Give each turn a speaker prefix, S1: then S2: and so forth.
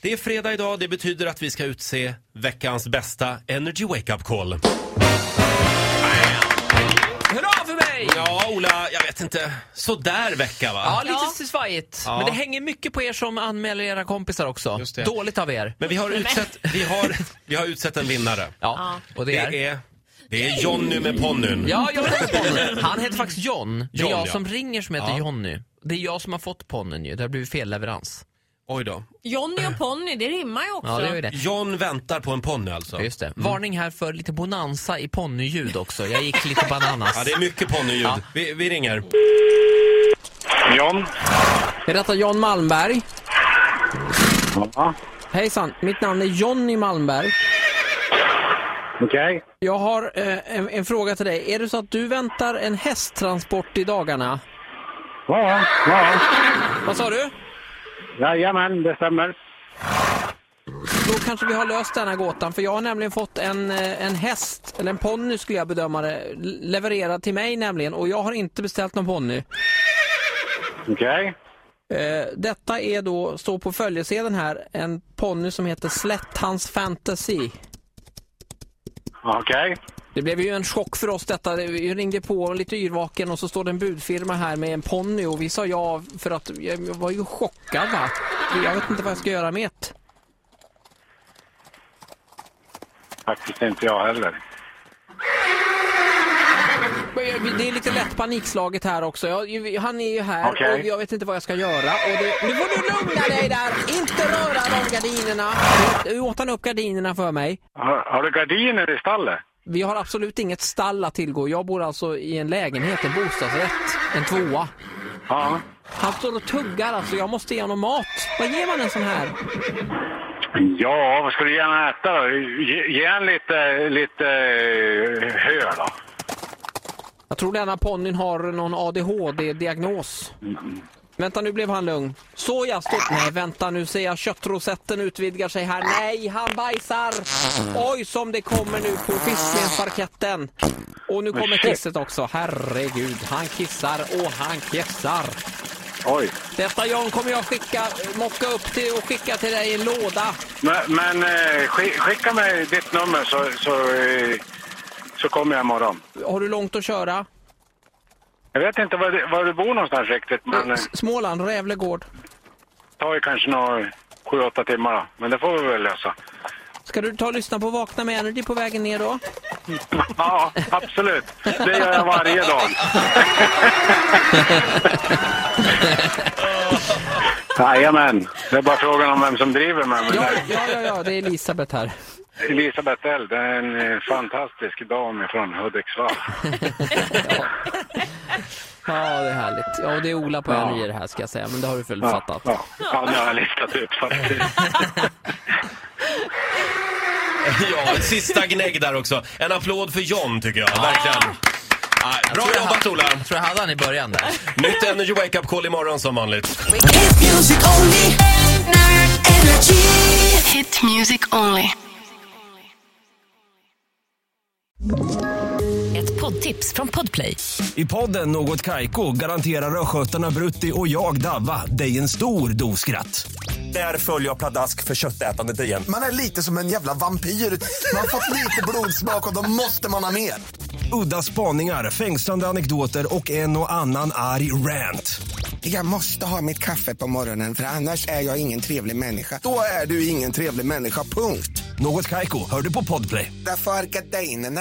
S1: Det är fredag idag, det betyder att vi ska utse veckans bästa Energy Wake Up Call.
S2: Hurra för mig!
S1: Ja, Ola, jag vet inte. Sådär vecka va?
S2: Ja, lite
S3: Ja.
S2: svajigt. Men det hänger mycket på er som anmäler era kompisar också.
S1: Just det.
S2: Dåligt av er.
S1: Men vi har, utsett, vi, har, vi har utsett en vinnare.
S2: Ja, och det
S1: Det
S2: är...
S1: är, det är Jonny med ponnyn.
S2: Ja, jag vet ponnyn. Han heter faktiskt John. Det är
S1: John,
S2: jag
S1: ja.
S2: som ringer som heter
S1: Ja.
S2: Jonny. Det är jag som har fått ponnyn ju. Det har blivit fel leverans.
S1: Oj då.
S3: Jonny och Ponny, det rimmar ju också.
S2: Ja, det var ju det.
S1: John väntar på en ponny alltså.
S2: Ja, just det. Varning här för lite bonanza i ponnyljud också. Jag gick lite bananas.
S1: Ja, det är mycket ponnyljud. Vi, vi ringer.
S4: John?
S5: Är detta John Malmberg?
S4: Ja.
S5: Hejsan, mitt namn är Jonny Malmberg.
S4: Okej.
S5: Jag har eh, en, en fråga till dig. Är det så att du väntar en hästtransport i dagarna?
S4: Ja, ja.
S5: Vad sa du?
S4: Jajamän, det stämmer.
S5: Då kanske vi har löst den här gåtan, för jag har nämligen fått en, eh, en häst, eller en ponny skulle jag bedöma det, l- levererad till mig nämligen, och jag har inte beställt någon ponny.
S4: Okej.
S5: Eh, detta är då, står på följesedeln här, en ponny som heter Slätthans Fantasy.
S4: Okej.
S5: Det blev ju en chock för oss detta. Vi ringde på lite yrvaken och så står det en budfirma här med en ponny och vi sa ja för att jag var ju chockad va. Jag vet inte vad jag ska göra med det.
S4: Faktiskt inte jag heller.
S5: Men jag- Det är lite lätt panikslaget här också. Jag, han är ju här
S4: Okej.
S5: och jag vet inte vad jag ska göra. Och det, nu får du lugna dig där! Inte röra de gardinerna! Nu åt han upp gardinerna för mig.
S4: Har, har du gardiner i stallet?
S5: Vi har absolut inget stall att tillgå. Jag bor alltså i en lägenhet, en bostadsrätt, en tvåa.
S4: Ja.
S5: Han står och tuggar alltså, jag måste ge honom mat. Vad ger man en sån här?
S4: Ja, vad ska du gärna äta då? Ge, ge en lite, lite eh, hö då.
S5: Jag tror denna ponnyn har någon ADHD-diagnos. Vänta, nu blev han lugn. Så jag står... Nej, vänta nu ser jag köttrosetten utvidgar sig här. Nej, han bajsar! Oj, som det kommer nu på fiskmensparketten. Och nu kommer
S4: shit.
S5: kisset också. Herregud, han kissar och han kissar.
S4: Oj.
S5: Detta John kommer jag skicka, mocka upp till och skicka till dig i en låda.
S4: Men, men eh, skick- skicka mig ditt nummer så, så, eh, så kommer jag imorgon.
S5: Har du långt att köra?
S4: Jag vet inte var, du- var du bor någonstans riktigt, men eh,
S5: S- Småland, Rävlegård.
S4: det tar ju kanske några sju, åtta timmar då. Men det får vi väl lösa.
S5: Ska du ta och lyssna på Vakna med Energy på vägen ner då?
S4: Ja, absolut. Det gör jag varje dag. Jajamän. Det är bara frågan om vem som driver mig. Men
S5: Ja,
S4: det-
S5: ja, ja, ja det är Elisabeth här.
S4: Elisabeth L, det är en eh, fantastisk dam från Hudiksvall.
S5: Ja, det är härligt. Ja, och det är Ola på
S4: Ja.
S5: Energy det här ska jag säga, men det har du väl
S4: Ja,
S5: fattat.
S4: ja. ja, nu har jag listat ut faktiskt.
S1: Ja, en sista gnägg där också. En applåd för John tycker jag, verkligen. Ja, Bra
S2: tror jag
S1: jobbat
S2: hade-
S1: Ola!
S2: Jag tror jag hade han i början där.
S1: Nytt Energy Wake Up Call imorgon som vanligt.
S6: Hit music only. Energy.
S7: Hit music only.
S8: Ett poddtips från Podplay.
S9: I podden Något Kaiko garanterar östgötarna Brutti och jag, Davva, dig en stor dos skratt. Där följer jag pladask för köttätandet igen.
S10: Man är lite som en jävla vampyr. Man har fått lite blodsmak och då måste man ha mer.
S9: Udda spaningar, fängslande anekdoter och en och annan arg rant.
S10: Jag måste ha mitt kaffe på morgonen för annars är jag ingen trevlig människa. Då är du ingen trevlig människa, punkt.
S9: Något Kaiko, hör du på Podplay.
S10: Därför arkadeinerna.